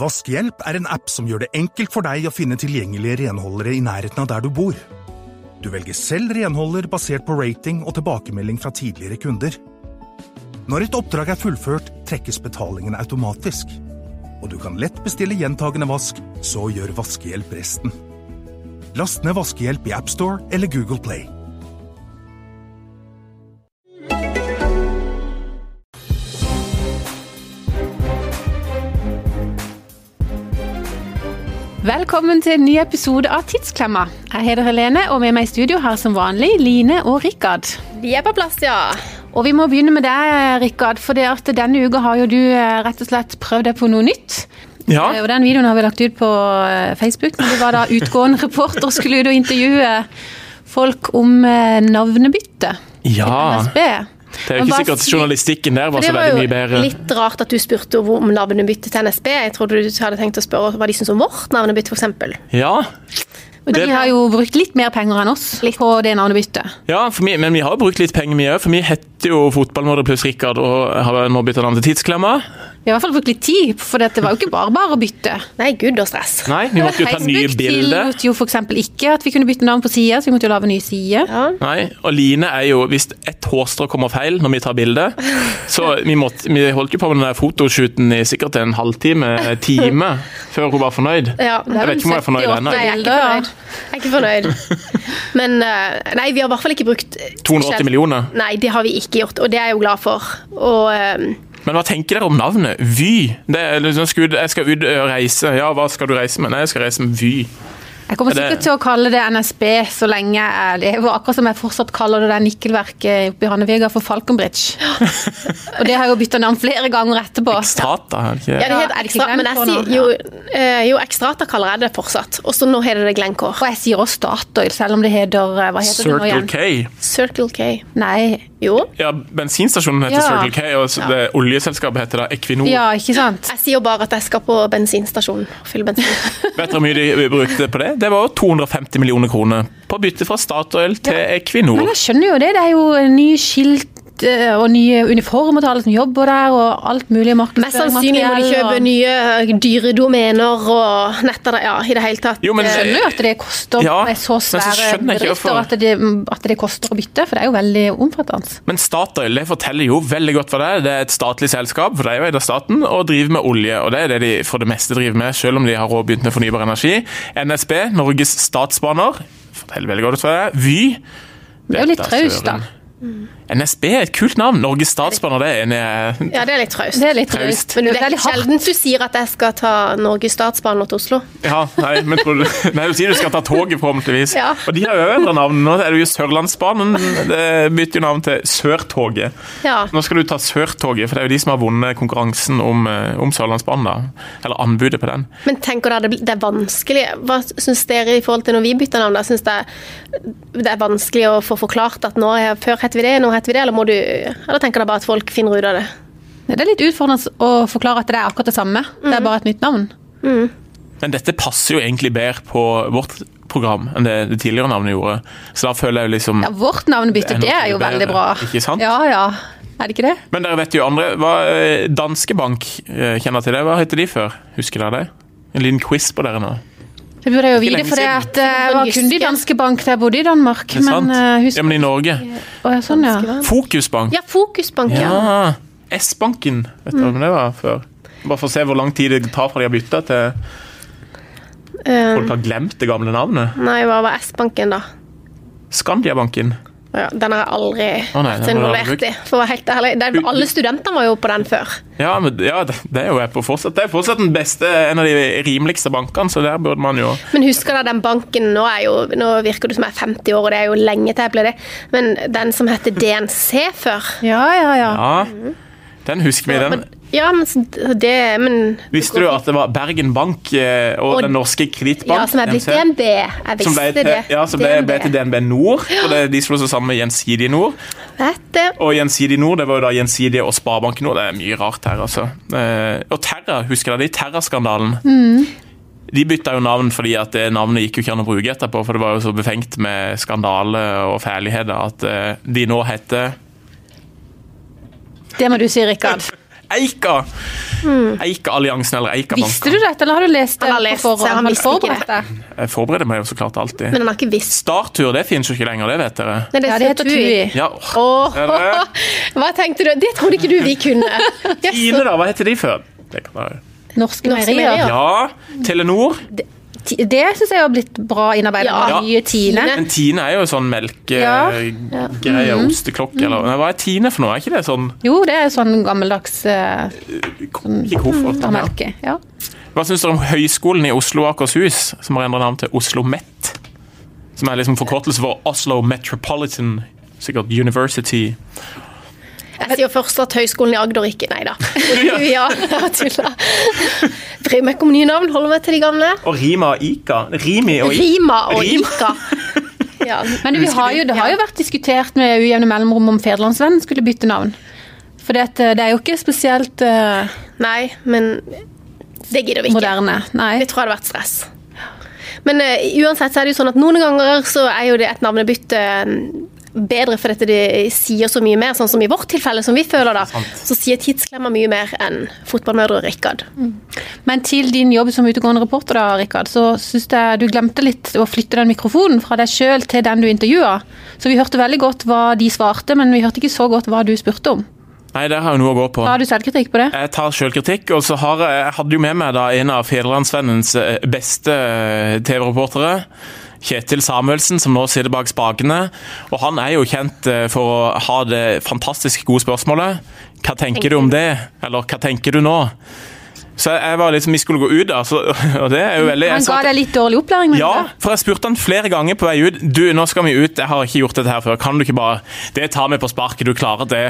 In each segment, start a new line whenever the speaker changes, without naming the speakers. Vaskehjelp er en app som gjør det enkelt for deg å finne tilgjengelige renholdere i nærheten av der du bor. Du velger selv renholder basert på rating og tilbakemelding fra tidligere kunder. Når et oppdrag er fullført, trekkes betalingen automatisk. Og du kan lett bestille gjentagende vask, så gjør Vaskehjelp resten. Last ned Vaskehjelp i AppStore eller Google Play.
Velkommen til en ny episode av Tidsklemma. Jeg heter Helene, og med meg i studio har som vanlig Line og Rikard.
Vi er på plass, ja.
Og vi må begynne med deg, Rikard, for det at denne uka har jo du eh, rett og slett prøvd deg på noe nytt.
Ja.
Eh, Og den videoen har vi lagt ut på eh, Facebook, når du var da utgående reporter og skulle ut og intervjue folk om eh, navnebytte.
Ja.
NSB.
Det er jo
Men
ikke
bare
sikkert
si-
journalistikken der var
Det
så
var
veldig
jo
mye bedre.
litt rart at du spurte om navnebytte til NSB. Jeg trodde du hadde tenkt å spørre hva de syns om vårt navnebytte, f.eks.
Ja,
Men de har jo brukt litt mer penger enn oss på det navnebyttet.
ja for vi, men vi har jo brukt litt penger, vi òg. For vi heter jo Fotballmordet pluss Rikard og har nå bytta navn til Tidsklemma.
Vi har i hvert fall brukt litt tid, for det var jo ikke bare bare å bytte.
Nei, gud og stress.
Nei, vi måtte jo ta nye
Facebook
bilder.
tillot jo f.eks. ikke at vi kunne bytte navn på sida, så vi måtte jo lage nye sider.
Ja.
Nei, og Line er jo Hvis ett hårstrå kommer feil når vi tar bilde Så vi, måtte, vi holdt jo på med den der fotoshooten i sikkert en halvtime, en time, før hun var fornøyd.
Ja, det er
jeg vet ikke om jeg er fornøyd ennå.
Nei, jeg er ikke fornøyd. Jeg er ikke fornøyd. Men eh, nei, vi har i hvert fall ikke brukt eh,
280 millioner.
Nei, det har vi ikke gjort, og det er jeg jo glad for. Og eh,
Men hva tenker dere om navnet? Vy? Det er liksom, skal ut- jeg skal ut og reise. Ja, hva skal du reise med? Nei, jeg skal reise med Vy.
Jeg kommer
Er det-
sikkert til å kalle det NSB så lenge jeg lever, akkurat som jeg fortsatt kaller det der nikkelverket oppe i Hannevega for Falconbridge. Og det har jeg jo bytta navn flere ganger etterpå.
Strata, er det ikke
ja,
det?
det
Ja,
heter
ikke
ekstra, men jeg
Glencore
sier jo, eh, jo Extrata kaller jeg det fortsatt. Og så nå heter det
Og
Glencore.
jeg sier også Statoil, selv om det heter eh, Hva heter det nå
Circle
igjen?
K.
Circle K.
Nei.
Jo.
Ja, bensinstasjonen heter
Ja.
Circle K, og så det oljeselskapet heter da Equinor.
Ja, ikke sant?
Jeg sier bare at jeg skal på bensinstasjonen og fylle bensin.
Vet dere hvor mye de brukte på det? Det var 250 millioner kroner på bytte fra Statoil til Equinor.
Men jeg skjønner jo det. Det er jo nye skilt eh, og nye uniformer til alle som jobber der, og alt mulig
Mest sannsynlig må de
markedsføringsmateriell.
kjøpe
og-
nye dyre domener og netter ja, i det hele tatt.
Jo, men-
Eh,
Jeg skjønner jo at det koster
Ja,
med så
men så
svære
skjønner jeg ikke
bedrifter
hvorfor-
at det, at det koster å bytte, for det er jo veldig omfattende.
Men Statoil det forteller jo veldig godt hva det er. Det er et statlig selskap, for det er jo eid av staten, og driver med olje. Og det er det de for det meste driver med, selv om de har også begynt med fornybar energi. NSB, Norges Statsbaner, forteller veldig godt hva det er. Vy.
Det er jo litt traust, da.
NSB er et kult navn. Norges Statsbaner, det er en eh, jeg-
ja, det er litt traust.
Det er litt
Traust.
traust.
Men du,
Det
det
er
er
litt hardt.
sjelden du sier at jeg skal ta Norges Statsbaner til Oslo.
Ja, nei, men tror du Nei, du sier du skal ta toget, forhåpentligvis.
Ja.
Og de har jo endra navn. Nå er det jo Sørlandsbanen. Det bytter jo navn til Sørtoget.
Ja.
Nå skal du ta Sørtoget, for det er jo de som har vunnet konkurransen om, eh, om Sørlandsbanen. da. Eller anbudet på den.
Men tenk dere, det blir- det er vanskelig. Hva syns dere i forhold til når vi bytter navn? da? Syns dere det er vanskelig å få forklart at nå er, før het vi det, nå heter vi det? Eller, må du, eller tenker dere bare at folk finner ut av det?
Det er litt utfordrende å forklare at det er akkurat det samme. Det
Mm.
er bare et nytt navn.
Men dette passer jo egentlig bedre på vårt program enn det det tidligere navnet gjorde. Så da føler jeg jo liksom
Ja, vårt navnebytte,
Det er
det er
nok
jo
mye
veldig
bedre,
bra.
ikke sant?
Ja, ja. Er det ikke det?
Men dere vet jo andre hva, eh, Danske Bank eh, kjenner til det. Hva heter de før? Husker dere det? En liten quiz på dere nå.
Det burde jeg jo vite,
lenge
for det
siden.
at eh, jeg var kunde i Danske Bank da jeg bodde i Danmark.
Er det sant?
Men eh,
ja,
husk
men i Norge.
Å, ja, Sånn, ja.
Fokusbank.
Ja, Fokusbank, ja.
Ja. S-banken. Vet
Mm.
du hvem det var før? Bare for å se hvor lang tid det tar fra de har bytta til
Eh,
folk har glemt det gamle navnet.
nei, hva var S-banken, da?
Skandiabanken.
Ja, den har jeg aldri
Å nei,
vært
den har du aldri
involvert i. For å være helt ærlig. Det er, alle studentene var jo på den før.
Ja, men, ja, det det er jo jeg på fortsatt. Det er fortsatt den beste, en av de rimeligste bankene, så der burde man jo
Men husker dere den banken Nå, er jo, nå virker det som jeg er 50 år, og det er jo lenge til jeg ble det. Men den som heter DNC før
Ja, ja, ja.
Ja, den husker vi. den.
Ja, men så det Men
Visste du at det var Bergen Bank eh, og
Og-
Den norske kredittbank
Ja, som er blitt
NC,
DNB. Jeg
som
visste
ble til,
det.
ja, som ble, ble til DNB Nord. Og det, de slo seg sammen med Gjensidige Nord.
Vet det.
Og Gjensidig Nord, det var jo da Gjensidige og Sparebanken Nord. Det er mye rart her, altså. Eh, og Terra, husker dere de? Terra-skandalen.
Mm.
De bytta jo navn fordi at det navnet gikk jo ikke an å bruke etterpå, for det var jo så befengt med skandale og fæligheter at eh, de nå heter
Det må du si, Rikard.
Eika.
Mm.
Eika-alliansen eller
Visste
Eika-banken.
du dette, eller har du lest det
Han har
på
lest, jeg har
forhånd? Har du
visst ikke
forberedt deg?
Jeg forbereder meg jo så klart alltid.
Men han har ikke visst.
Starttur det finnes jo ikke lenger, det vet dere.
Nei,
Ja, det heter Tui.
Ja, åh.
Åh,
Er det?
hva tenkte du? Det trodde ikke du vi kunne. Yes.
Tine, da. Hva heter de før? Det kan være-
Norske
Norske
meierier.
meierier.
Ja, Telenor.
Ti- Det syns jeg har blitt bra innarbeidet.
Ja.
med Nye Tine.
Tine.
Men Tine er jo sånn
Ja.
melkegreie, osteklokke eller Nei, Hva er Tine for noe? Er ikke det sånn
Jo, det er jo sånn gammeldags uh,
ikke koffert? Ja.
melke. Ja.
Hva syns dere om Høgskolen i Oslo og Akershus, som har endret navn til Oslo Met? Som er liksom forkortelse for Oslo Metropolitan sikkert University.
Jeg sier først at Høgskolen i Agder ikke Nei da. Ja, jeg tuller. Bryr meg ikke om nye navn, holder meg til de gamle.
Og Rima og Ika. Rimi og Ika.
Rima og
Rima.
Ika. Ja.
Men vi har jo, det har jo vært diskutert med ujevne mellomrom om Federlandsvennen skulle bytte navn. For det, at, eh, det er jo ikke spesielt eh,
Nei, men det gidder vi ikke.
moderne. Nei.
Jeg tror det hadde vært stress. Men eh, uansett så er det jo sånn at noen ganger så er jo det et navnebytte eh, bedre fordi at det sier så mye mer, sånn som i vårt tilfelle, som vi føler da, så sier tidsklemmer mye mer enn fotballmødre og Rikard.
Men til din jobb som utegående reporter, da, Rikard, så syns jeg du glemte litt å flytte den mikrofonen fra deg sjøl til den du intervjua. Så vi hørte veldig godt hva de svarte, men vi hørte ikke så godt hva du spurte om.
Nei, der har jeg noe å gå på.
Har du selvkritikk på det?
Jeg tar selvkritikk, og så har jeg, jeg hadde jo med meg da en av Federlandsvennens eh, beste eh, TV-reportere. Kjetil Samuelsen, som nå sitter bak spakene. Og han er jo kjent eh, for å ha det fantastisk gode spørsmålet. Hva tenker du om det? Eller hva tenker du nå? Så jeg var liksom, Vi skulle gå ut, da, så, og det er jo veldig jeg
Han
sa
ga
til-
deg litt dårlig opplæring? mener
ja,
du?
for jeg spurte han flere ganger på vei ut. Du, nå skal vi ut, jeg har ikke gjort dette her før. Kan du ikke bare Det tar vi på sparket, du klarer det.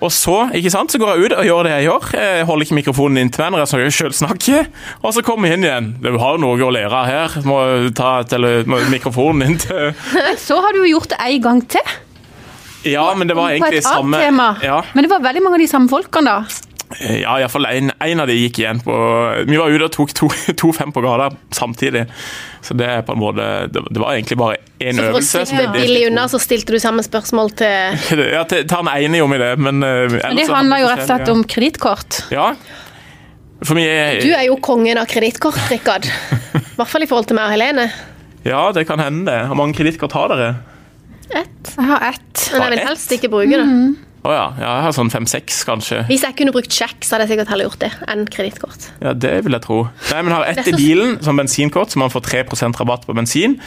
Og så, ikke sant, så går jeg ut og gjør det jeg gjør. Jeg holder ikke mikrofonen inntil meg når jeg skal sjølsnakke. Og så kommer jeg inn igjen. Du har jo noe å lære av her. Må ta tele må mikrofonen inntil
Men så har du jo gjort det en gang til.
Ja, men det var
på
egentlig
et annet
samme
tema.
Ja,
Men det var veldig mange av de samme folkene, da.
ja iallfall én av de gikk igjen på Vi var ute og tok to, to fem på gata samtidig. Så det er på en måte Det, det var egentlig bare én
Så for å
øvelse. som
slippe
ble delt i
billig
to.
unna, så stilte du samme spørsmål til
Ja, til- til han ene gjorde vi det, men eh,
Men
ellers
det
så
handler jo
hadde vi
rett og slett
forskjellige-
om kredittkort.
Ja. For vi er,
Du er jo kongen av kredittkort, Rikard. I hvert fall i forhold til meg og Helene.
Ja, det kan hende det. Hvor mange kredittkort har dere?
Ett.
Jeg har ett.
Men jeg
Bare ett?
vil helst ikke bruke det.
Å ja. ja, jeg har sånn fem-seks, kanskje.
Hvis jeg kunne brukt sjekk, så hadde jeg sikkert heller gjort det enn kredittkort.
Ja, Det vil jeg tro. Nei, men jeg har ett i bilen som bensinkort, så man får 3 rabatt på bensin.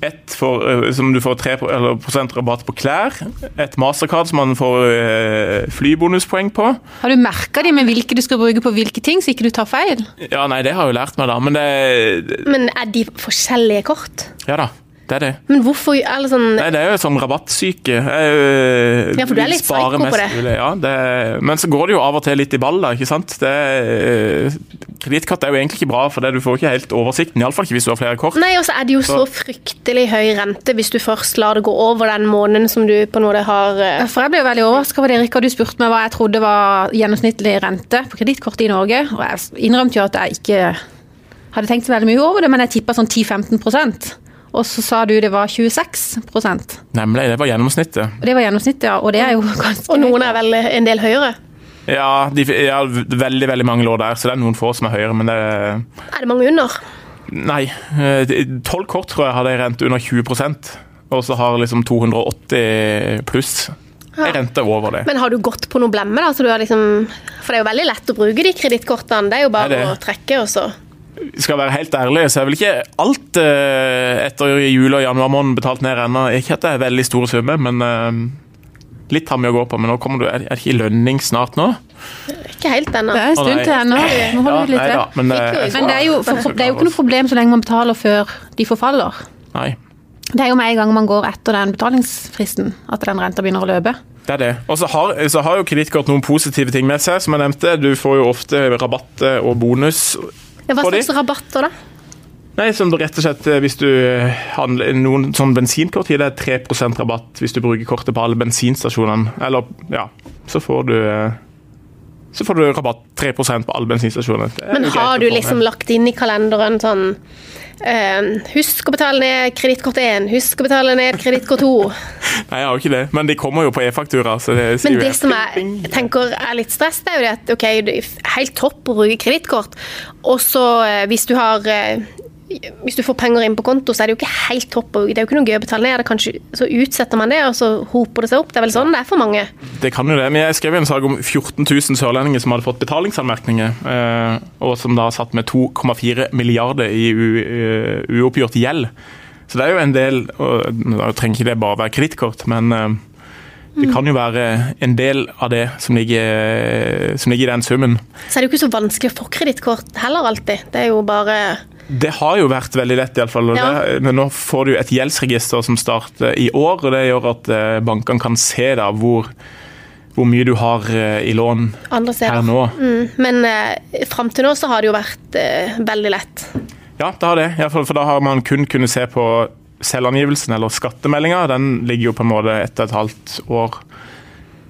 Ett for, eh, som du får 3 pro- eller prosent rabatt på klær. Et mastercard som man får eh, flybonuspoeng på.
Har du merka de med hvilke du skal bruke på hvilke ting, så ikke du tar feil?
Ja, nei, det har jeg jo lært meg, da. Men det
Men er de forskjellige kort?
Ja da. Det er det.
Men hvorfor eller sånn,
Nei, det er jo sånn rabattsyke. Jeg, øh,
Ja, for du er
vil
litt
spare
psyko på
mest
det.
mulig, Ja, det er- men så går det jo av og til litt i ball, da, ikke sant? Det er, øh, Kredittkort er jo egentlig ikke bra, for det du får ikke helt oversikten. Iallfall ikke hvis du har flere kort.
Nei, og så er det jo så fryktelig høy rente hvis du først lar det gå over den måneden som du på en måte har eh,
For jeg ble jo veldig overraska over det, Rikard. Du spurte meg hva jeg trodde var gjennomsnittlig rente på kredittkortet i Norge, og jeg innrømte jo at jeg ikke hadde tenkt så veldig mye over det, men jeg tippa sånn 10-15 og så sa du det var 26 Og
Nemlig, det var gjennomsnittet.
det var gjennomsnittet, ja. Og det er jo ganske
Og noen er vel en del høyere.
Ja, de, ja, veldig, veldig mange lå der, så det er noen få som er høyere, men det er-
Er det mange under?
Nei. eh, Tolv kort tror jeg hadde en rente under 20 og så har liksom 280 pluss en rente over det.
Men har du gått på noe blemme, da? Så du har liksom, for det er jo veldig lett å bruke de kredittkortene. Det er jo bare
Det er det.
å trekke, og så
skal jeg være helt ærlig, så er vel ikke alt eh, etter jul og januar måned betalt ned ennå. Ikke at det er veldig store summer, men eh, litt har vi å gå på. Men nå kommer du, er er det ikke lønning snart nå?
Ikke helt ennå.
Det er en
Å,
stund
nei.
til ennå. Må holde ut litt
nei
til.
da, men, eh,
Fikk jo
Men det er, jo, for, det er jo ikke noe problem så lenge man betaler før de forfaller.
Nei,
Det er jo med en gang man går etter den betalingsfristen at den renta begynner å løpe.
det er det. Og så har, så har jo kredittkort noen positive ting med seg, som jeg nevnte. Du får jo ofte rabatt eh, og bonus.
Ja, Hva
Får de?
slags rabatter, da?
Nei, som rett og slett eh, hvis du handler noen sånn bensinkort gir deg 3 rabatt hvis du bruker kortet på alle bensinstasjonene. Eller, ja, så får du eh, så får du rabatt 3 på alle bensinstasjoner. Det er
Men
jo greit
har
å
du
få med.
liksom lagt inn i kalenderen sånn Eh, husk å betale ned kredittkort 1, husk å betale ned kredittkort 2.
Nei, jeg har jo ikke det. Men de kommer jo på e-faktura. så det
Men
sier jo
det
jeg.
som jeg tenker er litt stress, det er jo det at ok, det er helt topp å bruke kredittkort, og så eh, hvis du har eh, hvis du får penger inn på konto, så er det jo ikke helt topp. å- Det er jo ikke noe gøy å betale ned. Det er kanskje, så utsetter man det, og så hoper det seg opp. Det er vel sånn det er for mange.
Det kan jo det, men jeg skrev en sak om 14 000 sørlendinger som hadde fått betalingsanmerkninger, eh, og som da satt med 2,4 milliarder i u- eh, uoppgjort gjeld. Så det er jo en del, og da trenger ikke det bare være kredittkort, men eh, det kan jo være en del av det som ligger, som ligger i den summen.
Så er det jo ikke så vanskelig å få kredittkort heller alltid. Det er jo bare
Det har jo vært veldig lett, iallfall.
Ja.
Men nå får du jo et gjeldsregister som starter i år, og det gjør at eh, bankene kan se da hvor, hvor mye du har eh, i lån
andre steder.
her nå.
Mm, Men eh, fram til nå så har det jo vært eh, veldig lett.
Ja, det har det. I hvert fall, for da har man kun kunnet se på selvangivelsen eller skattemeldinga. Den ligger jo på en måte etter et halvt år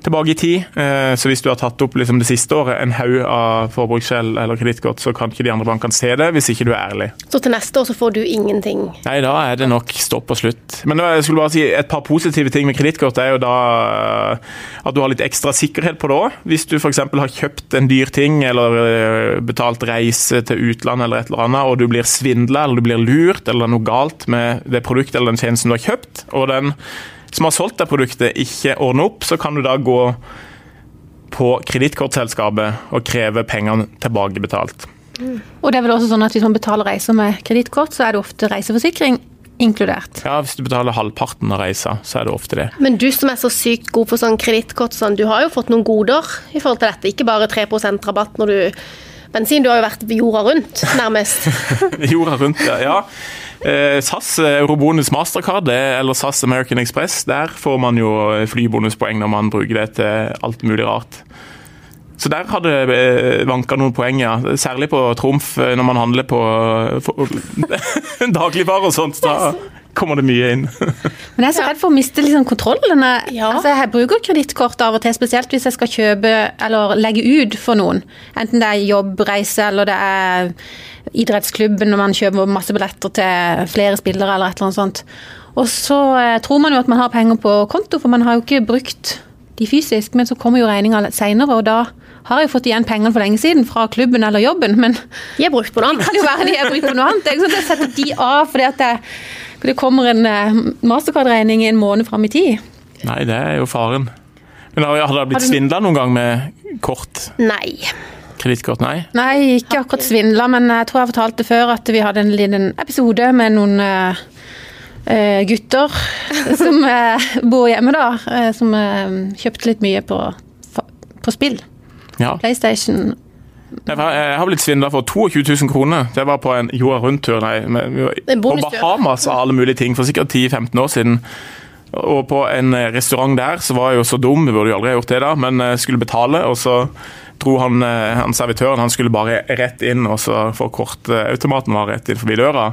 tilbake i tid. Eh, Så hvis du har tatt opp liksom det siste året en haug av forbruksgjeld eller kredittkort, så kan ikke de andre bankene se det hvis ikke du er ærlig.
Så til neste år så får du ingenting.
Nei, da er det nok stopp og slutt. Men nå, jeg skulle bare si et par positive ting med kredittkort er jo da eh, at du har litt ekstra sikkerhet på det òg. Hvis du f.eks. har kjøpt en dyr ting eller eh, betalt reise til utlandet eller et eller annet, og du blir svindla eller du blir lurt eller det er noe galt med det produktet eller den tjenesten du har kjøpt, og den som har solgt det produktet ikke ordner opp, så kan du da gå på kredittkortselskapet og kreve pengene tilbakebetalt.
Og det er vel også sånn at hvis man betaler reiser med kredittkort, så er det ofte reiseforsikring inkludert.
Ja, Hvis du betaler halvparten av reisa, så er det ofte det.
Men du som er så sykt god på sånn kredittkort, sånn, du har jo fått noen goder i forhold til dette. Ikke bare 3 rabatt når du Bensin, du har jo vært jorda rundt, nærmest.
Jorda rundt, ja. ja. Eh, SAS, eh, Eurobonus Mastercard det- eller SAS American Express, der får man jo eh, flybonuspoeng når man bruker det til alt mulig rart. Så der har det eh, vanka noen poeng, ja. Særlig på Trumf, eh, når man handler på eh, for- dagligvarer og sånt. Da kommer det mye inn.
Men jeg er så redd for å miste liksom kontrollen. Jeg-
Ja.
Altså, jeg bruker kredittkort av og til, spesielt hvis jeg skal kjøpe eller legge ut for noen. Enten det er jobbreise eller det er idrettsklubben når man kjøper masse billetter til flere spillere eller et eller annet sånt. Og så eh, tror man jo at man har penger på konto, for man har jo ikke brukt de fysisk, men så kommer jo regninga seinere, og da har jeg jo fått igjen pengene for lenge siden fra klubben eller jobben, men
De har brukt på noe annet.
kan jo være de jeg bruker på noe annet. Det er ikke sånn at jeg setter de av fordi at det, det kommer en eh, Mastercard-regning en måned fram i tid.
Nei, det er jo faren. Men har har dere blitt svindla noen gang med kort?
Nei.
Kredittkort? Nei?
Nei, ikke akkurat svindla, men jeg tror jeg har fortalt det før at vi hadde en liten episode med noen eh, eh, gutter som eh, bor hjemme, da. eh, som eh, kjøpte litt mye på, på spill.
Ja.
PlayStation.
Jeg har- jeg har blitt svindla for 22 000 kroner. Det var på en jorda rundt-tur. nei, men vi var
En
På
bonustur.
Bahamas og alle mulige ting for sikkert 10-15 år siden. Og på en eh, restaurant der så var jeg jo så dum, vi burde jo aldri ha gjort det da, men eh, skulle betale, og så dro han, eh, han servitøren han skulle bare rett inn, og så for kortautomaten var rett inn forbi døra.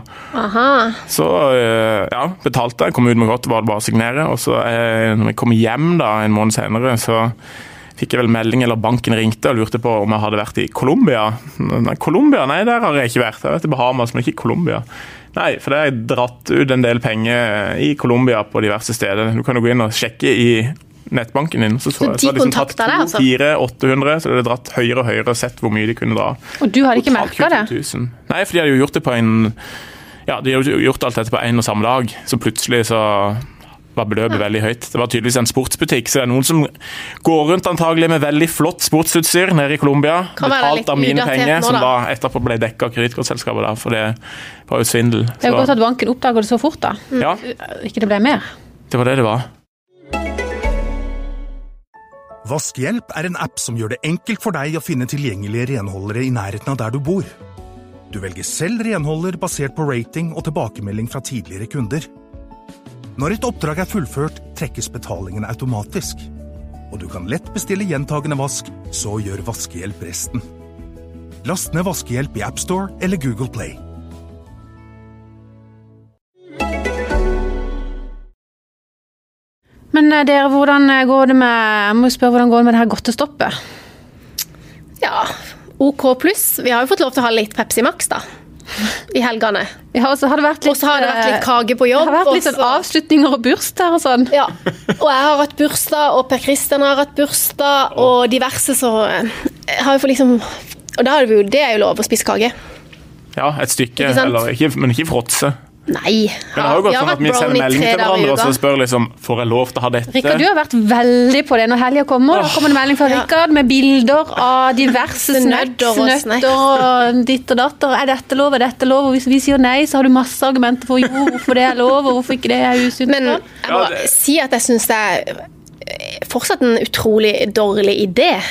Aha.
Så eh, ja, betalte jeg, kom ut med godt, var det bare å signere. Og så eh, når jeg kom hjem da, en måned senere, så fikk jeg vel melding, eller banken ringte og lurte på om jeg hadde vært i Colombia. Nei, Colombia? Nei, der har jeg ikke vært. Jeg har vært i Bahamas, men ikke i Colombia. Nei, for det har jeg dratt ut en del penger eh, i Colombia på diverse steder. Du kan jo gå inn og sjekke i nettbanken din. Så,
Så
jeg-
de
jeg liksom tatt
kontakta deg, altså?
400-800, så de hadde dratt høyere og høyere og sett hvor mye de kunne dra.
Og du hadde ikke
Totalt
merka det?
22 000. Nei, for de hadde jo gjort det på en Ja, de hadde jo gjort alt dette på en og samme dag, så plutselig så var beløpet veldig høyt. Det var tydeligvis en sportsbutikk, så det er noen som går rundt antagelig med veldig flott sportsutstyr nede i Colombia,
Kan være litt
betalt av mine
udatert
penger,
nå,
som
da.
da etterpå ble dekka av kredittkortselskapet, da, for det var jo svindel.
Det er jo
Så-
godt at banken oppdager det så fort, da.
ja,
Ikke det ble mer.
det var det det var.
Vaskehjelp er en app som gjør det enkelt for deg å finne tilgjengelige renholdere i nærheten av der du bor. Du velger selv renholder basert på rating og tilbakemelding fra tidligere kunder. Når et oppdrag er fullført, trekkes betalingen automatisk. Og du kan lett bestille gjentagende vask, så gjør Vaskehjelp resten. Last ned Vaskehjelp i AppStore eller Google Play.
Men eh, dere, hvordan eh, går det med Jeg må jo spørre, hvordan går det med det her godtestoppet?
Ja. OK pluss. Vi har jo fått lov til å ha litt Pepsi Max, da. i helgene.
Ja, og så har det vært litt,
Og så har det vært litt
eh,
kage på jobb.
Det har vært litt
og
sånn
så-
avslutninger og bursdager og sånn.
Ja. Og jeg har hatt bursdag, og Per Kristian har hatt bursdag, og diverse, så eh, jeg har jo fått liksom Og da er det jo, det er jo lov å spise kake.
Ja, et stykke,
Ikke sant?
eller, ikke, men ikke fråtse.
Nei.
Men det har jo gått sånn at vi sender meldinger til hverandre og så spør liksom, får jeg lov til å ha dette.
Rikard, du har vært veldig på det når helga kommer. Da kommer det melding fra
Ja.
Rikard med bilder av diverse
Snødder
snøtter
og
og,
snacks.
og ditt og datter. Er dette lov, er dette lov? Og hvis vi sier nei, så har du masse argumenter for jo, hvorfor det er lov, og hvorfor ikke det er usunt.
Men jeg må
Ja, det-
si at jeg syns det er eh, fortsatt en utrolig dårlig idé.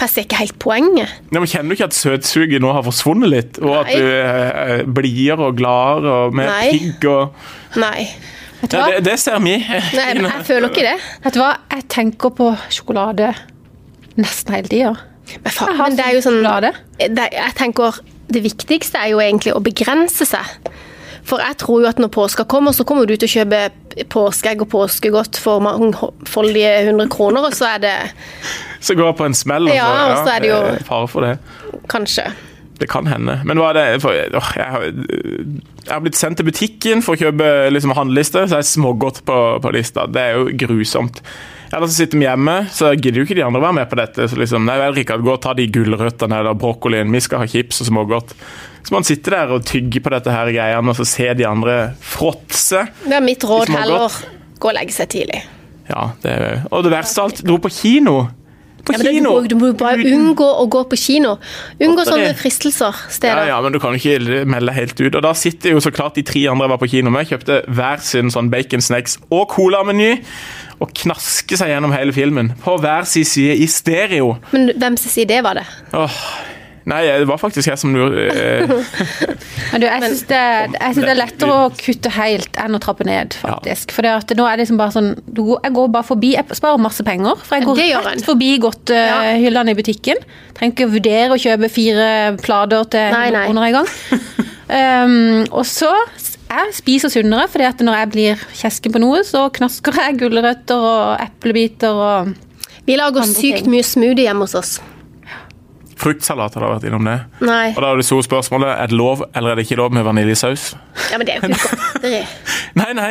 For jeg ser ikke helt poenget.
Ja, men kjenner du ikke at søtsuget nå har forsvunnet litt? Og at
Nei.
du er blidere og gladere og mer
Nei.
pigg og
Nei.
Vet du
ja,
hva?
det, det ser vi.
Nei jeg, jeg føler ikke det.
Vet du hva? Jeg tenker på sjokolade nesten hele tida.
Men, faen,
Jeg har
men det er jo
sånn
sånn
sjokolade.
det, Jeg tenker Det viktigste er jo egentlig å begrense seg. For jeg tror jo at når påska kommer, så kommer du til å kjøpe påskeegg og påskegodt for mangfoldige 100 kroner, og så er det
Så går jeg på en smell, og så,
Ja, og så er det jo-
fare for det.
kanskje
Det kan hende. Men hva er det for, åh, jeg, har, jeg har blitt sendt til butikken for å kjøpe liksom, handleliste, så jeg er smågodt på, på lista. Det er jo grusomt. Eller så sitter vi hjemme, så gidder jo ikke de andre å være med på dette. Så liksom, nei vel, Rikard, gå og ta de gulrøttene eller brokkolien. Vi skal ha chips og smågodt. Så man sitter der og tygger på dette her greiene, og så ser de andre fråtse.
Det er mitt råd
Hvis man har
heller gå og legge seg tidlig.
Ja, det er jo Og det verste av alt, dro på kino. På
Ja, men det-
kino!
Du, må- du må jo bare
Uten-
unngå å gå på kino. Unngå
Godteri.
sånne fristelser
Ja,
steder.
ja, men du kan jo ikke melde helt ut. Og da sitter jo så klart de tre andre jeg var på kino med, kjøpte hver sin sånn bacon snacks og cola-meny, og knaske seg gjennom hele filmen. På hver sin side i stereo.
Men hvem sin idé var det?
Åh, Nei, det var faktisk jeg som lurte eh,
Men du, jeg syns det, jeg synes det er lettere å kutte helt enn å trappe ned, faktisk. For det at nå er det liksom bare sånn du går, Jeg går bare forbi, jeg sparer masse penger. For jeg går
Det gjør en.
rett forbi godthyllene i butikken. Trenger ikke å vurdere å kjøpe fire plater til
Nei,
100
nei.
kroner en gang. Um, og så s- jeg spiser sunnere, fordi at når jeg blir kjesken på noe, så knasker jeg gulrøtter og eplebiter og
Vi lager
Andre
sykt
ting.
mye smoothie hjemme hos oss.
Fruktsalat hadde vært innom det.
Nei.
Og da er det store spørsmålet er det lov eller er det ikke lov med vaniljesaus.
Ja, men det er jo ikke godteri.
Nei, nei.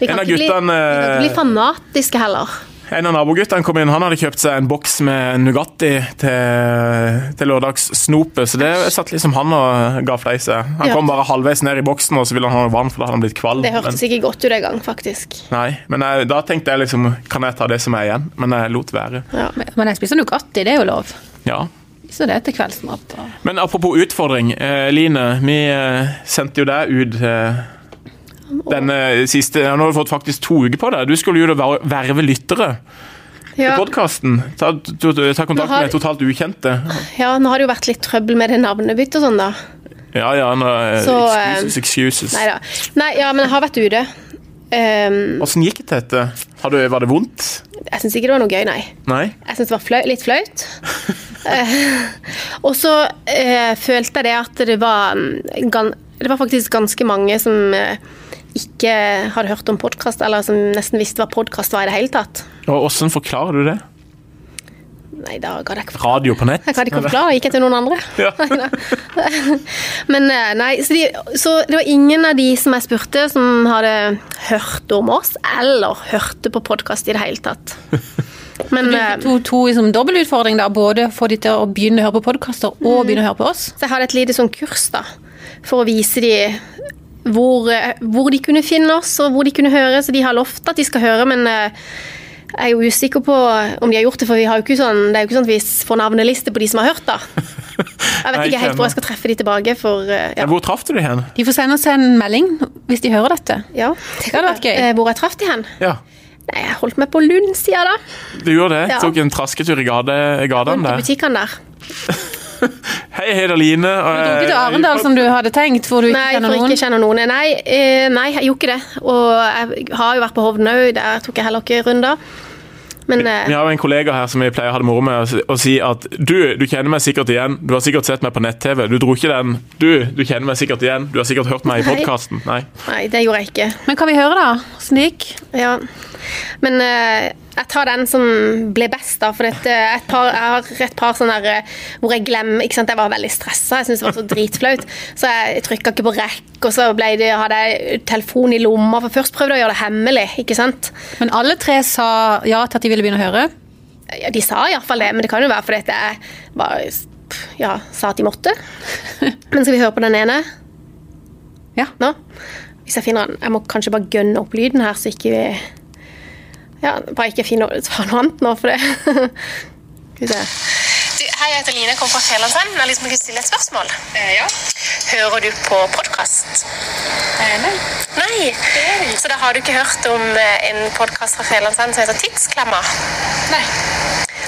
Vi kan
En av
ikke bli-
guttene,
vi kan ikke
eh,
bli fanatiske heller.
En av naboguttene kom inn, han hadde kjøpt seg en boks med Nugatti til, til lørdagssnopet, så det satt liksom han og ga fleise. Han
Ja.
kom bare halvveis ned i boksen, og så ville han ha vann, for da hadde han blitt kvalm.
Det
Men-
hørtes ikke godt ut en gang, faktisk.
Nei, men jeg, da tenkte jeg liksom Kan jeg ta det som er igjen? Men jeg lot være.
Ja.
Men jeg spiser Nugatti, det er jo lov.
Ja.
Spiser det til kveldsmat. Og
Men apropos utfordring. Eh, Line, vi eh, sendte jo deg ut eh, denne siste ja, Nå har du fått faktisk to uker på deg. Du skulle jo da ver- verve lyttere
Ja,
til podkasten. Ta, ta, ta
Nå
kontakt
har-
med totalt ukjente.
ja, nå har det jo vært litt trøbbel med det navnebyttet og sånn, da.
Ja ja, nå, eh,
Så, eh,
excuses, excuses.
Nei da. Nei, ja, men jeg har vært ute. Ehm,
Åssen gikk det dette? Har du, var det vondt?
jeg syns ikke det var noe gøy, nei.
Nei?
Jeg syns det var flau, litt flaut. Eh, og så eh, følte jeg det at det var mm, gan, Det var faktisk ganske mange som eh, ikke hadde hørt om podkast, eller som nesten visste hva podkast var i det hele tatt.
Og åssen forklarer du det?
Nei, da ga det ikke for
Radio på nett?
Jeg kan ikke forklare, jeg gikk etter noen andre.
Ja.
Men eh, nei, så, de, så det var ingen av de som jeg spurte, som hadde hørt om oss, eller hørte på podkast i det hele tatt. Men eh,
to, to liksom, dobbeltutfordring da, både få de til å begynne å høre på podkaster
Mm.
og begynne å høre på oss.
Så jeg hadde et lite sånn kurs da, for å vise de hvor, eh, hvor de kunne finne oss, og hvor de kunne høre. Så de har lovt at de skal høre, men eh, jeg er jo usikker på eh, om de har gjort det, for vi har jo ikke sånn, det er jo ikke sånn at vi får navneliste på de som har hørt, da. Jeg vet
Nei,
ikke helt hvor jeg skal treffe de tilbake, for eh, ja.
Hvor traff du det hen?
De får sende oss en melding hvis de hører dette.
ja.
Det hadde vært gøy.
Eh, Hvor jeg traff de hen?
Ja.
Nei, jeg holdt meg på Lund, sier jeg da.
Du gjorde det?
Ja.
Tok en trasketur i gade- gatene
Rundt i
der?
butikkene der.
Hei, hei, det er Line. Eh, Og,
Du dro ikke til Arendal som du hadde tenkt, hvor du ikke
eh, Nei,
kjenner
for
noen.
ikke kjenner noen. Nei, eh, nei, jeg gjorde ikke det. Og jeg har jo vært på Hovden òg, der tok jeg heller ikke runder. Men eh,
Vi har jo en kollega her som vi pleier å ha det moro med, å si at du, du kjenner meg sikkert igjen. Du har sikkert sett meg på nett-TV. Du dro ikke den. Du, du kjenner meg sikkert igjen. Du har sikkert hørt meg i
Nei.
podkasten. Nei.
Nei, det gjorde jeg ikke.
Men kan vi høre, da? Åssen det gikk?
Ja. Men eh, Jeg tar den som ble best, da. For dette, et par, jeg har et par sånne der, eh, hvor jeg glemmer ikke sant? Jeg var veldig stressa, jeg syntes det var så dritflaut. Så jeg trykka ikke på rekk, og så ble det, hadde jeg telefon i lomma. For først prøvde jeg å gjøre det hemmelig, ikke sant.
Men alle tre sa ja til at de ville begynne å høre.
Ja, de sa iallfall det, men det kan jo være fordi at jeg bare ja, sa at de måtte. Men skal vi høre på den ene
Ja.
nå? Hvis jeg finner den Jeg må kanskje bare gønne opp lyden her, så ikke vi Ja, bare ikke finner ta noe annet nå, for det Skal vi se.
Du, hei, jeg heter Line, jeg kommer fra Fjellandsvennen. Jeg har liksom lyst til å stille et spørsmål. Eh, ja. Hører du på podkast? Eh, nei. Nei? Så da har du ikke hørt om eh, en podkast fra Fjellandsvennen som heter Tidsklemma? Nei.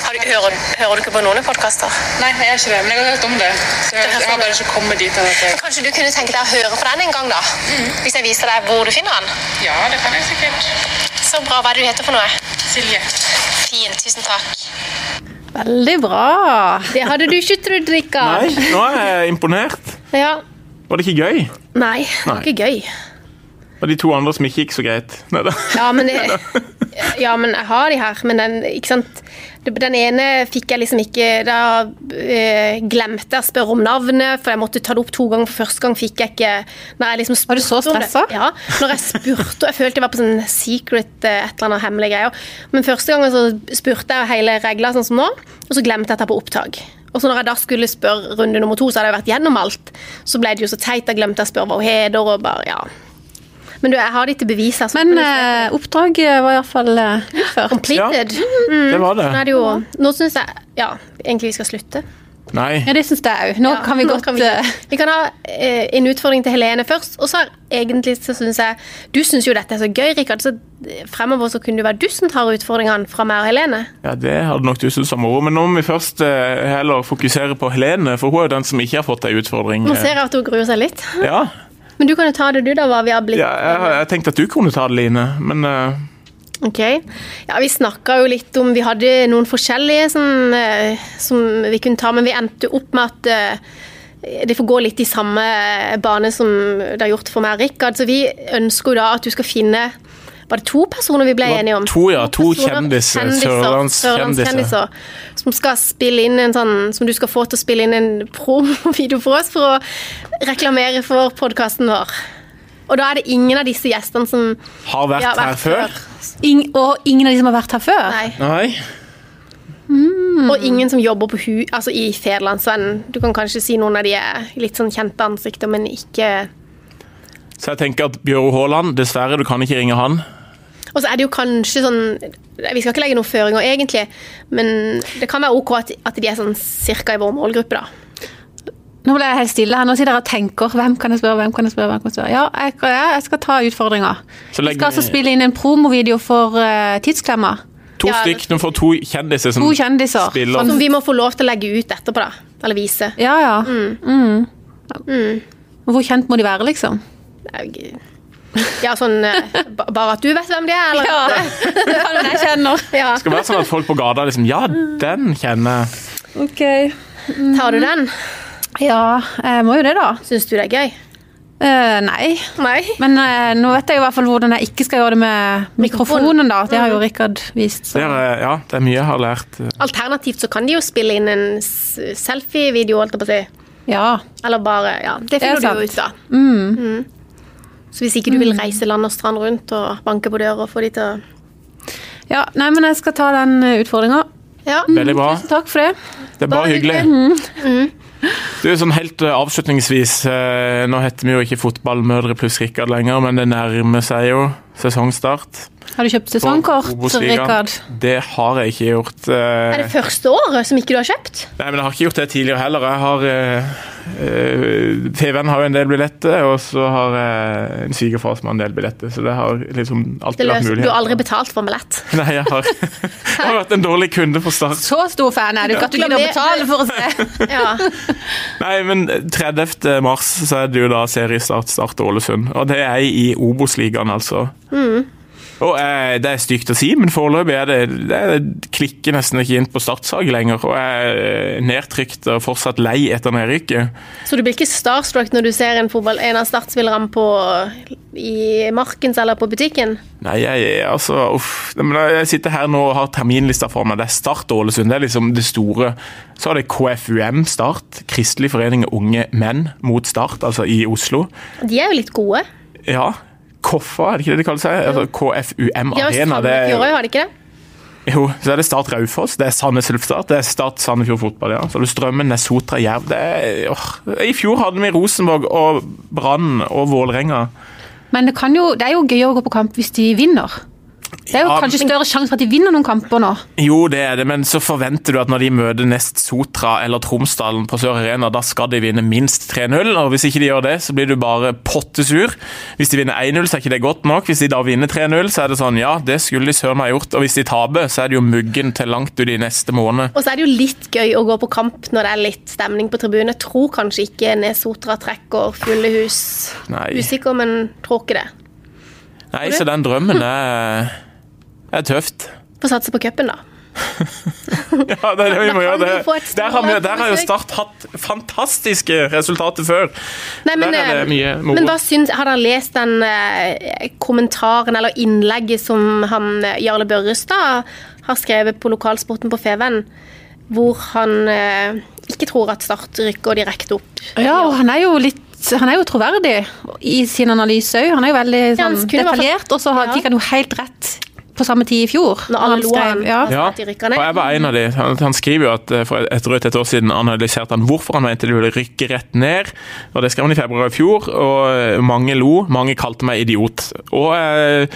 Har du, hører, hører du ikke på noen podkaster?
Nei, jeg er ikke det, men jeg har hørt om det. sånn Så jeg, jeg har bare ikke kommet dit. av at jeg...
Kanskje du kunne tenke deg å høre på den en gang, da? Hvis jeg viser deg hvor du finner den?
Ja, det kan jeg sikkert.
Så bra. Hva er det du heter for noe?
Silje.
Fint. Tusen takk.
Veldig bra.
Det hadde du ikke trodd,
Nei,
Rikard.
nå er jeg imponert.
Ja.
Var det ikke gøy?
Nei, det var ikke gøy.
Og de to andre som ikke gikk så greit. Nei, da.
Ja, men, det, ja, men jeg har de her. Men den, ikke sant? den ene fikk jeg liksom ikke Da eh, glemte jeg å spørre om navnet, for jeg måtte ta det opp to ganger. For første gang fikk jeg ikke når jeg liksom
Var du så
spurte om det-
stressa?
Ja. Når jeg spurte Jeg følte jeg var på sånn secret eh, et eller annet hemmelige greier. Men første gangen så spurte jeg hele regla sånn som nå, og så glemte jeg at jeg er på opptak. Og så når jeg da skulle spørre runde nummer to, så hadde jeg vært gjennom alt. Så ble det jo så teit. Jeg glemte å spørre hva hun heter, og bare Ja. Men du, jeg har de til bevis her. så
Men
kan du se.
eh, oppdraget var iallfall eh, utført.
Completed.
Det var det.
Nå er det jo
Mm.
Nå syns jeg Ja, egentlig vi skal slutte.
Nei.
Ja, det syns jeg òg. Nå
Ja,
kan vi
nå
godt
vi,
eh,
vi kan ha eh, en utfordring til Helene først. Og så har egentlig så syns jeg Du syns jo dette er så gøy, Rikard, så eh, fremover så kunne det være du som tar utfordringene fra meg og Helene.
Ja, Det hadde nok du syntes var moro, men nå må vi først eh, heller fokusere på Helene, for hun er jo den som ikke har fått ei utfordring.
Nå ser jeg at hun gruer seg litt.
Ja,
Men du kan jo ta det, du, da, hva vi har blitt.
ja jeg, har- jeg tenkte at du kunne ta det, Line, men eh,
Ok. Ja, vi snakka jo litt om Vi hadde noen forskjellige som, eh, som vi kunne ta, men vi endte opp med at eh, det får gå litt i samme bane som det har gjort for meg og Rikard. Så vi ønsker jo da at du skal finne Var det to personer vi ble
var
enige om?
to, ja, to kjendiser,
Sørlandskjendiser.
sørlandskjendiser.
sørlandskjendiser, Som skal spille inn en sånn Som du skal få til å spille inn en promovideo for oss for å reklamere for podkasten vår. Og da er det ingen av disse gjestene som
har vært,
har vært
her før.
ing, Og ingen av de som har vært her før?
Nei.
Nei.
Og ingen som jobber på hu, altså i Federlandsvennen. Du kan kanskje si noen av de er litt sånn kjente ansikter, men ikke
Så jeg tenker at Bjøro Haaland, dessverre, du kan ikke ringe han.
Og så er det jo kanskje sånn Vi skal ikke legge noen føringer, egentlig, men det kan være OK at, at de er sånn cirka i vår målgruppe, da.
Nå ble jeg helt stille her. Nå sitter jeg og tenker hvem kan jeg spørre, hvem kan jeg spørre, hvem kan jeg spørre. Ja, jeg, ja, jeg skal ta utfordringa.
Så
Jeg
legger
skal altså
vi-
spille inn en promovideo for eh, Tidsklemma.
To
Ja,
stykk, nå får to kjendiser som
To kjendiser.
spiller.
Som vi må få lov til å legge ut etterpå, da. Eller vise.
Ja, ja. Mm. Og Hvor kjent må de være, liksom?
Jeg- Ja, sånn eh, ba- Bare at du vet hvem de er, eller?
Ja, den jeg kjenner.
Ja.
Det skal være sånn at folk på gata liksom Ja, den kjenner jeg.
Ok.
Tar du den?
Ja, jeg må jo det, da.
Syns du det er gøy?
Eh, nei.
Nei.
Men eh, nå vet jeg i hvert fall hvordan jeg ikke skal gjøre det med mikrofonen, da. Det har jo Rikard vist.
Det
Så.
er, eh, ja, det er mye jeg har lært.
Alternativt så kan de jo spille inn en s- selfie-video, holdt jeg på å si.
Ja.
Eller bare Ja, det
Det er
finner du jo
sant.
ut av. Mm. Så hvis ikke du vil reise land og strand rundt og banke på døra og få de til å
ja. Nei, men jeg skal ta den utfordringa.
Ja.
Veldig bra.
Tusen takk for det.
Det er bare
Bare
hyggelig.
Mm.
Du, sånn helt eh, avslutningsvis, eh, nå heter vi jo ikke Fotballmødre pluss Rikard lenger, men det nærmer seg jo sesongstart.
Har du kjøpt
på
sesongkort,
Obos-ligaen.
Rikard?
Det har jeg ikke gjort. eh,
Er det første året som ikke du har kjøpt?
Nei, men jeg har ikke gjort det tidligere heller. Jeg har eh, eh, TV-en har jo en del billetter, og så har eh, en svigerfar som har en del billetter, så det har liksom
Det
alltid vært
løser,
mulighet.
du har aldri betalt for billett.
Nei, jeg har, jeg har vært en dårlig kunde for start.
Så stor fan er du ikke at du gidder å
Gratulerer.
betale for å se.
Ja.
Nei, men 30. mars så er det jo da seriestart start Ålesund, og det er i Obos-ligaen, altså. Og eh, Det er stygt å si, men foreløpig er det, det er, klikker nesten ikke inn på startsag lenger. Og jeg er nedtrykt og fortsatt lei etter nedrykket.
Så du blir ikke starstruck når du ser en, fotball, en av startspillerne på, i markens eller på butikken?
Nei, jeg er altså uff. Men jeg sitter her nå og har terminlista for meg. Det er Start og Ålesund. Det er liksom det store. Så er det KFUM Start. Kristelig forening av unge menn mot Start, altså i Oslo.
De er jo litt gode.
Ja. Koffa, er det ikke det de kaller seg? Altså, KFUM
De har jo
Arena.
Sandnes
Det
i år
er,
òg, har de ikke det?
jo, så er det Start Raufoss, det er Sandnes Ulfstad, det er Start Sandefjord Fotball. ja. Så er det Strømmen, det er Sotra Jerv. Det er, åh. I fjor hadde vi Rosenborg og Brann og Vålerenga.
Men det, kan jo, det er jo gøy å gå på kamp hvis de vinner. Det er jo
Ja,
kanskje større sjanse for at de vinner noen kamper nå.
Jo, det er det, men så forventer du at når de møter nest Sotra eller Tromsdalen på Sør Arena, da skal de vinne minst 3-0. og Hvis ikke de gjør det, så blir du bare pottesur. Hvis de vinner 1-0, så er ikke det godt nok. Hvis de da vinner 3-0, så er det sånn ja, det skulle de søren meg gjort. Og hvis de taper, så er det jo muggen til langt ut i neste måned.
Og så er det jo litt gøy å gå på kamp når det er litt stemning på tribunen. Jeg tror kanskje ikke Nesotra trekker fulle hus.
Nei.
Usikker, men tror ikke det.
Nei, så den drømmen er, er tøft.
Få satse på cupen, da.
Ja, det er det vi
Da
må
kan
gjøre.
vi få
Det.
et
Der har, vi,
stort
der har jo
besøk.
Start hatt fantastiske resultater før.
Nei, men,
Der er
eh,
det mye moro.
men hva syns, Har dere lest den eh, kommentaren eller innlegget som han, eh, Jarle Børrestad har skrevet på lokalsporten på Feven? Hvor han eh, ikke tror at Start rykker direkte opp.
Ja, og han er jo litt han er jo troverdig i sin analyse òg. Han er jo veldig
Ja, han
sånn,
skulle i hvert fall-
detaljert, og så har-
Ja.
fikk han jo helt rett på samme tid i fjor.
Når alle lo av
skrev-
han.
ja.
Altså,
Ja,
at de rykker ned.
og jeg var en av de. Han, han skriver jo at eh, for et drøyt et år siden analyserte han hvorfor han mente de ville rykke rett ned. og Det skrev han i februar i fjor, og eh, mange lo. Mange kalte meg idiot. Og jeg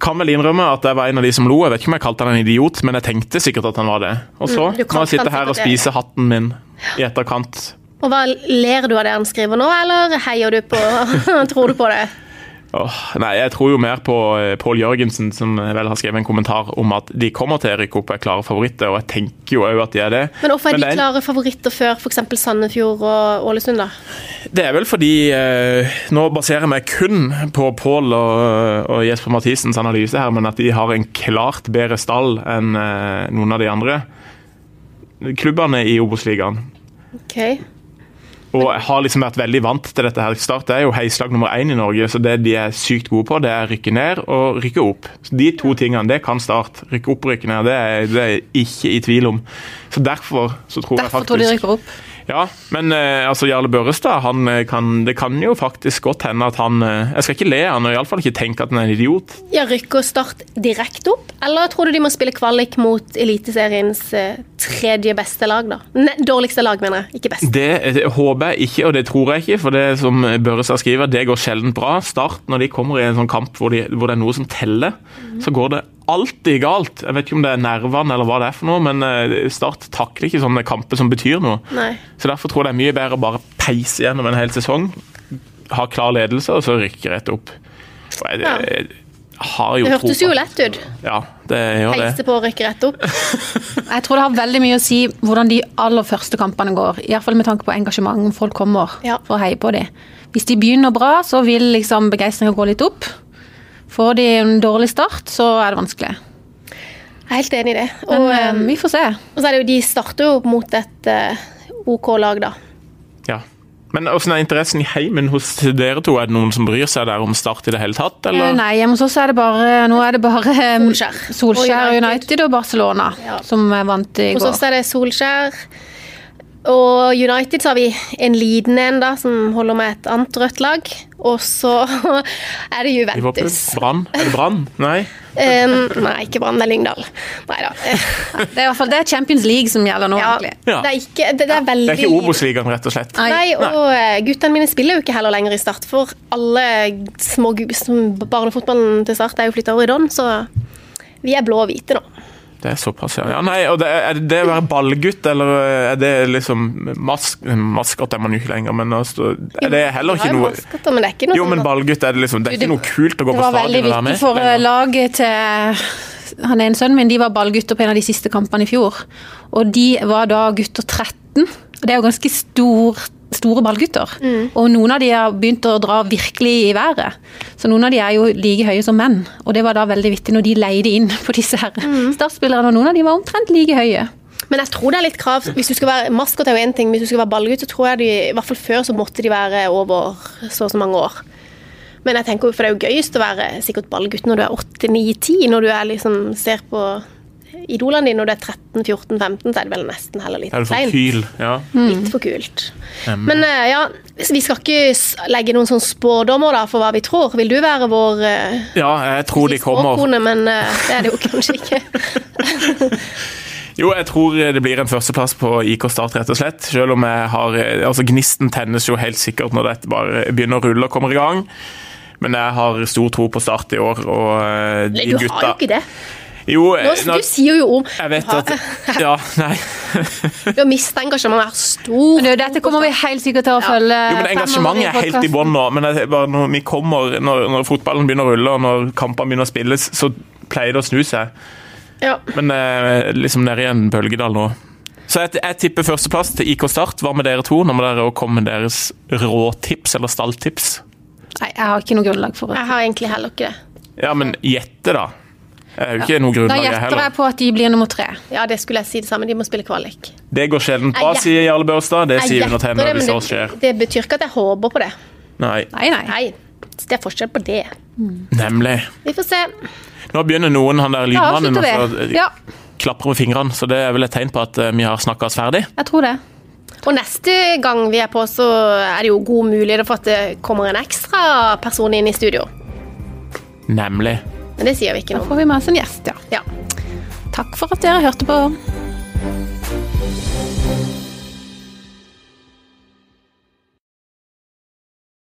kan vel innrømme at jeg var en av de som lo. Jeg vet ikke om jeg kalte han en idiot, men jeg tenkte sikkert at han var det. Og så
Mm, du
må jeg
kalte
sitte
han
her og
sikkert det.
spise hatten min i etterkant.
Og hva Ler du av det han skriver nå, eller heier du på Tror du på det?
Åh, nei, jeg tror jo mer på eh, Pål Jørgensen, som vel har skrevet en kommentar om at de kommer til å rykke opp og er klare favoritter, og jeg tenker jo òg at de er det.
Men hvorfor er
det
de
en-
klare favoritter før f.eks. Sandefjord og Ålesund, da?
Det er vel fordi eh, Nå baserer jeg meg kun på Pål og, og Jesper Mathisens analyse her, men at de har en klart bedre stall enn eh, noen av de andre klubbene i Obos-ligaen.
Ok.
Og jeg har liksom vært veldig vant til dette. her. Start er jo heislag nummer én i Norge, så det de er sykt gode på, det er rykke ned og rykke opp. Så De to tingene, det kan Start. Rykke opp og rykke ned, det er det er jeg ikke i tvil om. Så derfor så tror jeg
Derfor
faktisk
tror de rykker opp.
ja, men eh, altså Jarle Børrestad, han eh, kan, det kan jo faktisk godt hende at han eh, Jeg skal ikke le av han, og iallfall ikke tenke at han er en idiot.
Ja, Rykker Start direkte opp, eller tror du de må spille kvalik mot Eliteseriens eh, tredje beste lag, da? Ne, dårligste lag, mener jeg. Ikke best.
Det, eh, håper jeg ikke, og det tror jeg ikke, for det som Børrestad skriver, det går sjelden bra. Start, når de kommer i en sånn kamp hvor, de, hvor det er noe som teller, så går det alltid galt. Jeg vet ikke om det er nervene eller hva det er for noe, men eh, Start takler ikke sånne kamper som betyr noe.
Nei.
Så derfor tror jeg det er mye bedre å bare peise gjennom en hel sesong, ha klar ledelse, og så rykke rett opp. Og jeg,
Ja.
jeg, har jo
Det
tro
hørtes
på
jo
at-
lett ut.
Ja, det gjør det.
Heise på og rykke rett opp.
Jeg tror det har veldig mye å si hvordan de aller første kampene går. Iallfall med tanke på engasjement, om folk kommer
Ja.
for å heie på dem. Hvis de begynner bra, så vil liksom begeistringa gå litt opp. Får de en dårlig start, så er det vanskelig.
Jeg er helt enig i det. Og,
Men eh, vi får se.
eh, og så er det jo, de starter jo mot et eh, OK lag, da.
Ja. Men åssen er interessen i heimen hos dere to? Er det noen som bryr seg der om Start i det hele tatt,
Eh,
eller?
Nei, hjemme hos oss er det bare Nå er det bare eh,
Solskjær.
Solskjær
Og United.
United og Barcelona
Ja.
som eh, vant i
Hos
går.
oss er det Solskjær. Og United så har vi en liten en da, som holder med et annet rødt lag. Og så er det
Liverpool?
Juventus.
Brann? Er det Brann? Nei?
Um, nei, ikke Brann, det er Lyngdal. Nei da.
Det er i hvert fall det er Champions League som gjelder nå,
Ja,
egentlig.
det er ikke Det, det er veldig
Det er ikke Obos-ligaen, rett og slett.
Nei.
Nei, og eh, guttene mine spiller jo ikke heller lenger i Start, for alle små gu- som barnefotballen til Start er jo flytta over i Don, så vi er blå og hvite nå.
Det er såpass, ja. ja nei, og det, er det det å være ballgutt, eller eh, er det liksom mask, Maskot er man jo ikke lenger, men altså, er det heller
Vi har
ikke
jo
noe
maskotter, men det er ikke noe
Jo, men
sånn at-
ballgutt er det liksom Det
Du,
er
det-
ikke noe kult å gå
Det
på
var veldig
stadion og
viktig
være med.
for eh,
lenger.
laget til Han ene sønnen min de var ballgutter på en av de siste kampene i fjor. Og de var da gutter 13. Og det er jo ganske stor, store ballgutter. Og noen av de har begynt å dra virkelig i været. Så noen av de er jo like høye som menn. Og det var da veldig vittig når de leide inn på disse her startspillerne. Og noen av de var omtrent like høye.
Men jeg tror det er litt krav. Hvis du skal være maskot er jo en ting, men hvis du skal være ballgutt, så tror jeg de, i hvert fall før så måtte de være over så og så mange år. Men jeg tenker, jo- for det er jo gøyest å være sikkert ballgutt når du er 8-9-10, når du er liksom, ser på idolene dine, når du er 13-14-15, så er det vel nesten heller litt
Er du sånn
kleint.
for kyl? Ja.
Litt for kult. Men eh, ja, vi skal ikke s- legge noen sånn spådommer da, for hva vi tror. Vil du være vår eh,
ja, jeg tror de kommer.
spåkone? Men eh, det er det jo kanskje ikke.
Jo, jeg tror eh, det blir en førsteplass på IK Start, rett og slett. Selv om jeg har Altså, gnisten tennes jo helt sikkert når dette bare begynner å rulle og kommer i gang. Men jeg har stor tro på Start i år, og eh, de
Du
gutta
har jo ikke det.
Jo, eh,
Nå,
nå-
du sier jo om
jeg vet
du har-
at Ja, nei.
Du har mistet engasjementet er stor.
Men du, dette kommer vi helt sikkert til å følge.
Eh,
Jo, men Engasjementet er helt i bånn nå. Men jeg, bare når, vi kommer, når, når fotballen begynner å rulle og når kampene begynner å spilles, så pleier det å snu seg.
Ja.
Men eh, liksom nede i en bølgedal nå. Så jeg, jeg tipper førsteplass til IK Start. Hva med dere to? Nå må dere også komme med deres råtips eller stalltips.
Nei, jeg har ikke noe grunnlag for det.
Jeg har egentlig heller ikke det.
Ja, men gjette, da. Jeg er jo ikke noe
Da
grunnlag jeg
gjetter jeg
heller.
på at de blir nummer tre.
Ja, det skulle jeg si det samme. De må spille kvalik.
Det går sjelden bra,
Jeg
sier Jarle Børstad. Det
Jeg
sier vi når
gjetter
tennene
men
hvis det
det,
skjer.
det betyr ikke at jeg håper på det.
Nei,
Nei, nei.
Nei, det er forskjell på det.
nemlig.
Vi får se.
Nå begynner noen, han der
Da
lydmannen,
avslutter
å
vi. Ja,
klapre med fingrene, så det er vel et tegn på at eh, vi har snakka oss ferdig.
jeg tror det.
Og neste gang vi er på, så er det jo god mulighet for at det kommer en ekstra person inn i studio.
Nemlig.
Men det sier vi ikke
Da
noe om.
får vi med oss en gjest, ja.
Ja.
Takk for at dere hørte på.